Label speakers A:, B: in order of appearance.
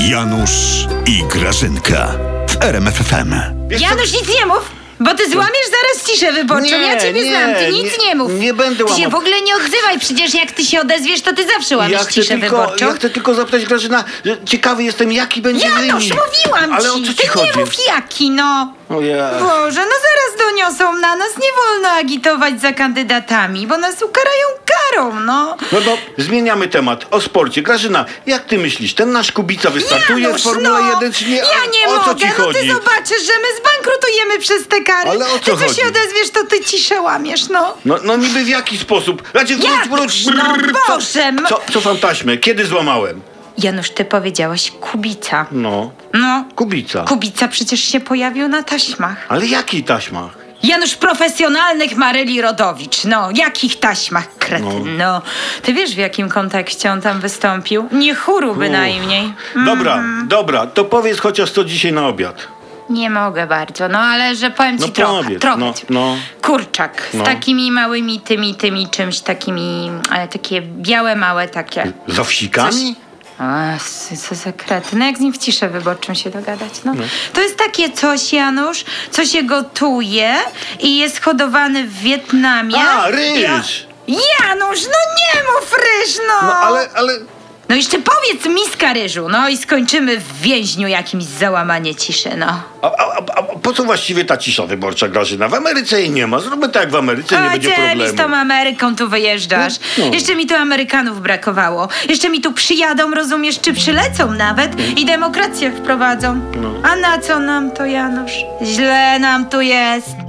A: Janusz i Grażynka w RMFFM.
B: Janusz, nic nie mów! Bo ty złamiesz zaraz ciszę wyborczą.
C: Nie,
B: ja ciebie
C: nie,
B: znam, ty
C: nie,
B: nic nie, mów.
C: nie będę
B: Ty się
C: łamał.
B: w ogóle nie odzywaj, przecież jak ty się odezwiesz, to ty zawsze łamiesz
C: Ja chcę,
B: ciszę
C: tylko,
B: wyborczą.
C: ja chcę tylko zapytać Grażyna, że ciekawy jestem jaki będzie
B: Janusz,
C: wynik.
B: mówiłam
C: Ale
B: ci!
C: o co
B: ty
C: ci chodzi?
B: nie mów jaki, no!
C: O ja.
B: Boże, no zaraz doniosą na nas. Nie wolno agitować za kandydatami, bo nas ukarają karą, no.
C: No to zmieniamy temat. O sporcie. Grażyna, jak ty myślisz, ten nasz Kubica wystartuje
B: Janusz,
C: w Formule
B: no,
C: 1 czy nie?
B: Ja nie
C: o
B: mogę,
C: co ci
B: no ty
C: chodzi?
B: zobaczysz, że my zbankrutujemy przez te kary.
C: Ale o co
B: ty co
C: chodzi?
B: się odezwiesz, to ty ciszę łamiesz, no.
C: No, no niby w jaki sposób? Raczej
B: Janusz, no Boże, m-
C: Co, cofam taśmę. Kiedy złamałem?
B: Janusz, ty powiedziałaś kubica.
C: No.
B: No.
C: Kubica.
B: Kubica przecież się pojawił na taśmach.
C: Ale jaki taśmach?
B: Janusz profesjonalnych Maryli Rodowicz. No, jakich taśmach, kretyn, no. Ty wiesz, w jakim kontekście on tam wystąpił? Nie chóru bynajmniej. Mm.
C: Dobra, dobra, to powiedz chociaż co dzisiaj na obiad.
B: Nie mogę bardzo, no ale że powiem ci
C: No
B: trochę,
C: powiedz,
B: trochę.
C: no, no.
B: Kurczak z
C: No.
B: takimi małymi tymi, tymi czymś takimi, ale takie białe, małe takie.
C: Z owsikami?
B: A, s- co za krety. No jak z nim w ciszę wyborczą się dogadać, no. To jest takie coś, Janusz, co się gotuje i jest hodowany w Wietnamie.
C: A, ryż!
B: Ja... Janusz, no nie mów ryż, no!
C: No ale, ale...
B: No jeszcze powiedz miska ryżu, no i skończymy w więźniu jakimś za załamanie ciszy, no.
C: A, a, a, a po co właściwie ta cisza wyborcza, Grażyna? W Ameryce jej nie ma. Zróbmy tak jak w Ameryce, nie będzie
B: Chodź, z tą
C: problemu. No,
B: Ameryką tu wyjeżdżasz. Jeszcze mi tu Amerykanów brakowało. Jeszcze mi tu przyjadą, rozumiesz, czy przylecą
C: No.
B: nawet i demokrację wprowadzą. A na co nam to, Janusz? Źle nam tu jest.